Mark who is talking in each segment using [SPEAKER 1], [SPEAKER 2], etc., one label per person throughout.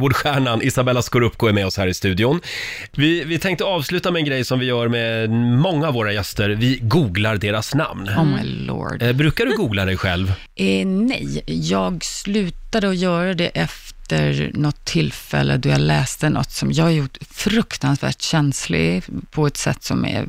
[SPEAKER 1] Hollywoodstjärnan Isabella Scorupco är med oss här i studion. Vi, vi tänkte avsluta med en grej som vi gör med många av våra gäster. Vi googlar deras namn.
[SPEAKER 2] Oh my lord.
[SPEAKER 1] Eh, brukar du googla dig själv?
[SPEAKER 2] Eh, nej, jag slutade att göra det efter något tillfälle då jag läste något som jag har gjort fruktansvärt känslig på ett sätt som är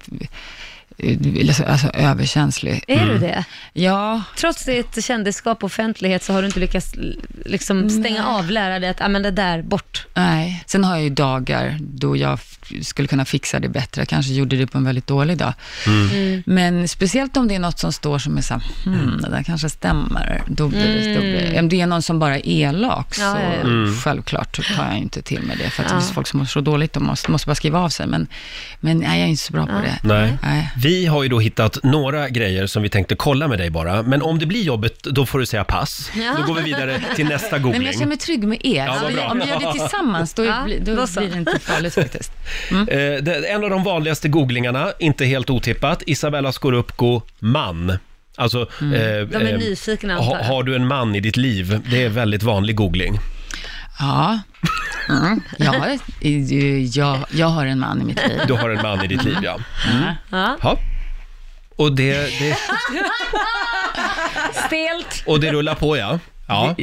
[SPEAKER 2] eh, alltså, alltså överkänslig.
[SPEAKER 3] Är du det?
[SPEAKER 2] Ja,
[SPEAKER 3] Trots ditt kändisskap och offentlighet så har du inte lyckats l- liksom stänga av, lära dig att ah, men det där, bort.
[SPEAKER 2] nej. Sen har jag ju dagar då jag f- skulle kunna fixa det bättre. Jag kanske gjorde det på en väldigt dålig dag.
[SPEAKER 1] Mm.
[SPEAKER 2] Men speciellt om det är något som står som är så här,
[SPEAKER 1] Mm.
[SPEAKER 2] hmm, det där kanske stämmer. Då blir det, då blir det. Om det är någon som bara är elak, så
[SPEAKER 3] Ja, ja, ja.
[SPEAKER 1] Mm.
[SPEAKER 2] självklart tar jag inte till mig det. För att
[SPEAKER 3] Ja.
[SPEAKER 2] det finns folk som mår så dåligt, de måste, måste bara skriva av sig. Men, men nej, jag är inte så bra på det.
[SPEAKER 1] Nej.
[SPEAKER 2] Nej.
[SPEAKER 1] Vi har ju då hittat några grejer som vi tänkte kolla med dig bara, men om det blir jobbigt då får du säga pass.
[SPEAKER 3] Ja.
[SPEAKER 1] Då går vi vidare till nästa
[SPEAKER 2] Nej, men jag känner
[SPEAKER 1] googling.
[SPEAKER 2] mig trygg med er.
[SPEAKER 1] Ja, vad
[SPEAKER 2] så vi,
[SPEAKER 1] bra.
[SPEAKER 2] Alltså, om vi gör det tillsammans, då,
[SPEAKER 3] Ja,
[SPEAKER 2] blir- då,
[SPEAKER 3] då så.
[SPEAKER 2] blir det inte farligt faktiskt. Mm.
[SPEAKER 1] Eh, det- En av de vanligaste googlingarna, inte helt otippat, Isabella Scorupco, man. Alltså, eh,
[SPEAKER 3] Mm. De är
[SPEAKER 1] eh,
[SPEAKER 3] nyfikna antar
[SPEAKER 1] ha,
[SPEAKER 3] jag.
[SPEAKER 1] har du en man i ditt liv? Det är väldigt vanlig googling.
[SPEAKER 2] Ja. Mm. Jag, har, jag, jag har en man i mitt liv.
[SPEAKER 1] Du har en man i ditt liv, ja. Mm.
[SPEAKER 3] Ja.
[SPEAKER 1] ja. Och, det, det,
[SPEAKER 3] Stelt.
[SPEAKER 1] och det rullar på, ja. ja.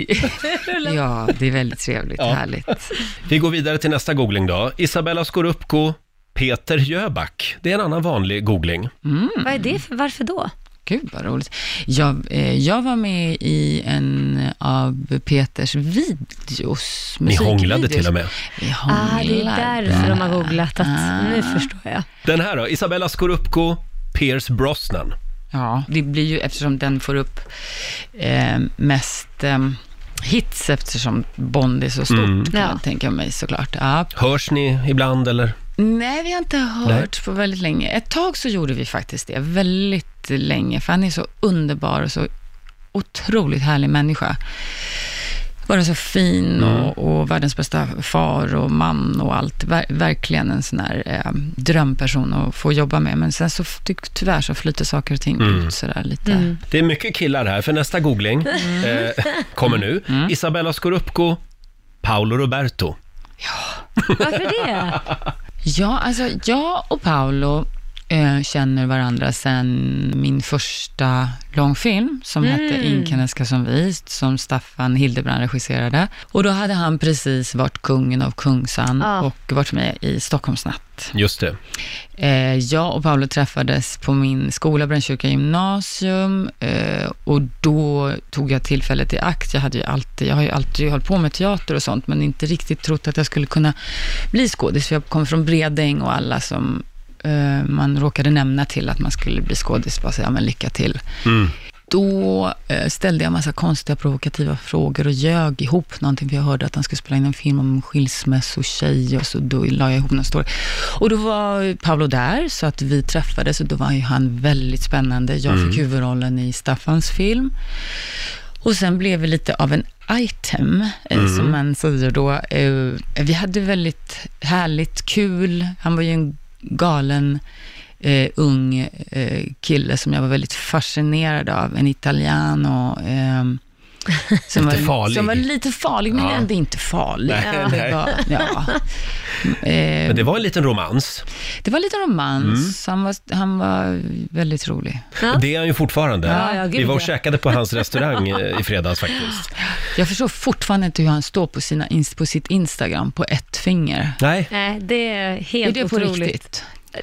[SPEAKER 2] Ja, det är väldigt trevligt.
[SPEAKER 1] Ja.
[SPEAKER 2] Härligt.
[SPEAKER 1] Vi går vidare till nästa googling då. Isabella Scorupco, Peter Jöback. Det är en annan vanlig googling.
[SPEAKER 3] Mm. Vad är det för, varför då?
[SPEAKER 2] Gud vad roligt. Jag, eh, jag var med i en av Peters videos.
[SPEAKER 1] Ni hånglade
[SPEAKER 2] musikvideos.
[SPEAKER 1] till och med.
[SPEAKER 2] Vi
[SPEAKER 3] Ah, det är Ah.
[SPEAKER 2] hånglade.
[SPEAKER 3] därför de har googlat att, nu förstår jag.
[SPEAKER 1] Den här då, Isabella Scorupco, Pierce Brosnan.
[SPEAKER 2] Ja, det blir ju eftersom den får upp eh, mest eh, hits eftersom Bond är så stort,
[SPEAKER 1] Mm.
[SPEAKER 2] kan
[SPEAKER 3] Ja.
[SPEAKER 2] jag tänka mig såklart. Ja.
[SPEAKER 1] Hörs ni ibland eller?
[SPEAKER 2] Nej, vi har inte hört på väldigt länge. Ett tag så gjorde vi faktiskt det, väldigt länge, för han är så underbar och så otroligt härlig människa. Bara så fin och, och världens bästa far och man och allt. Ver, verkligen en sån här eh, drömperson att få jobba med. Men sen så ty, tyvärr så flyter saker och ting ut sådär lite.
[SPEAKER 1] Det är mycket killar här, för nästa googling eh, kommer nu. Isabella Scorupco, Paolo Roberto.
[SPEAKER 3] Varför det?
[SPEAKER 2] Ja, alltså jag och Paolo eh, känner varandra sedan min första långfilm som hette Ingen älskar som vi, som Staffan Hildebrand regisserade. Och då hade han precis varit kungen av Kungsan
[SPEAKER 3] Ja.
[SPEAKER 2] och varit med i Stockholmsnatt.
[SPEAKER 1] Just det.
[SPEAKER 2] Eh, jag och Paolo träffades på min skola, Brännkyrka gymnasium, eh, och då tog jag tillfället i akt. Jag, hade ju alltid, jag har ju alltid hållit på med teater och sånt, men inte riktigt trott att jag skulle kunna bli skådis, för jag kom från Bredäng och alla som eh, man råkade nämna till att man skulle bli skådis, bara säga, ja men lycka till.
[SPEAKER 1] Mm.
[SPEAKER 2] Då eh, ställde jag massa konstiga provokativa frågor och ljög ihop någonting, för jag hörde att han skulle spela in en film om skilsmässotjej och så då la jag ihop någon story. Och då var Pablo där, så att vi träffades och då var ju han väldigt spännande. Jag fick huvudrollen i Staffans film. Och sen blev vi lite av en item, eh, som man säger då. Eh, Vi hade väldigt härligt, kul. Han var ju en galen eh, ung eh, kille som jag var väldigt fascinerad av. En italiano. Eh, som,
[SPEAKER 1] Lite
[SPEAKER 2] var,
[SPEAKER 1] farlig.
[SPEAKER 2] som var lite farlig, men
[SPEAKER 1] Ja.
[SPEAKER 2] ändå inte farlig.
[SPEAKER 1] Nej, nej.
[SPEAKER 2] Det, var, ja. Eh,
[SPEAKER 1] Men Mm. det var en liten romans.
[SPEAKER 2] det var lite romans. Han, var, han var väldigt rolig.
[SPEAKER 3] Ja.
[SPEAKER 1] Det är han ju fortfarande.
[SPEAKER 3] Ja, ja, gud,
[SPEAKER 1] Vi var och
[SPEAKER 3] ja.
[SPEAKER 1] käkade på hans restaurang eh, i fredags faktiskt.
[SPEAKER 2] Jag förstår fortfarande inte hur han står på, sina, ins- på sitt Instagram på ett finger.
[SPEAKER 1] Nej,
[SPEAKER 3] Nej, det är
[SPEAKER 2] Är
[SPEAKER 3] helt
[SPEAKER 2] det på
[SPEAKER 3] otroligt.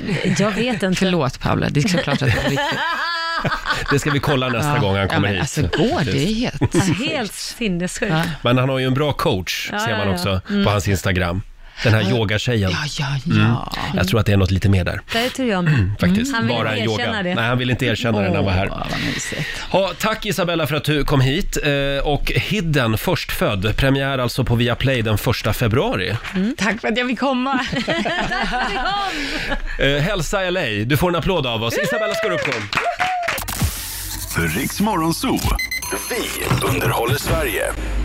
[SPEAKER 2] riktigt?
[SPEAKER 3] Jag vet inte.
[SPEAKER 2] Förlåt Paula, det är såklart att det är på riktigt.
[SPEAKER 1] det ska vi kolla nästa
[SPEAKER 2] Ja.
[SPEAKER 1] gång han kommer
[SPEAKER 2] ja, men
[SPEAKER 1] hit.
[SPEAKER 2] Alltså går det? Det är
[SPEAKER 3] Ja,
[SPEAKER 2] helt...
[SPEAKER 3] Helt sinnessjukt.
[SPEAKER 2] Ja.
[SPEAKER 1] Men han har ju en bra coach,
[SPEAKER 3] Ja,
[SPEAKER 1] ser man
[SPEAKER 3] ja, Mm. ja.
[SPEAKER 1] också på hans Instagram. Den här yogatjejen.
[SPEAKER 2] Ja, ja, ja.
[SPEAKER 1] Jag tror att det är något lite mer där,
[SPEAKER 3] Där tror jag med.
[SPEAKER 1] faktiskt.
[SPEAKER 3] Mm. Han vill
[SPEAKER 1] Bara en
[SPEAKER 3] inte erkänna
[SPEAKER 1] yoga.
[SPEAKER 3] det.
[SPEAKER 1] Nej, han vill inte erkänna det när han var här.
[SPEAKER 2] Åh, vad mysigt.
[SPEAKER 1] Ha, tack Isabella för att du kom hit. Eh, och Hidden, förstfödd, premiär alltså på Viaplay den 1 februari.
[SPEAKER 2] Tack för att jag fick komma.
[SPEAKER 1] Eh, hälsa LA, du får en applåd av oss. Isabella Scorupco.
[SPEAKER 4] Riks Morgonzoo. Vi underhåller Sverige.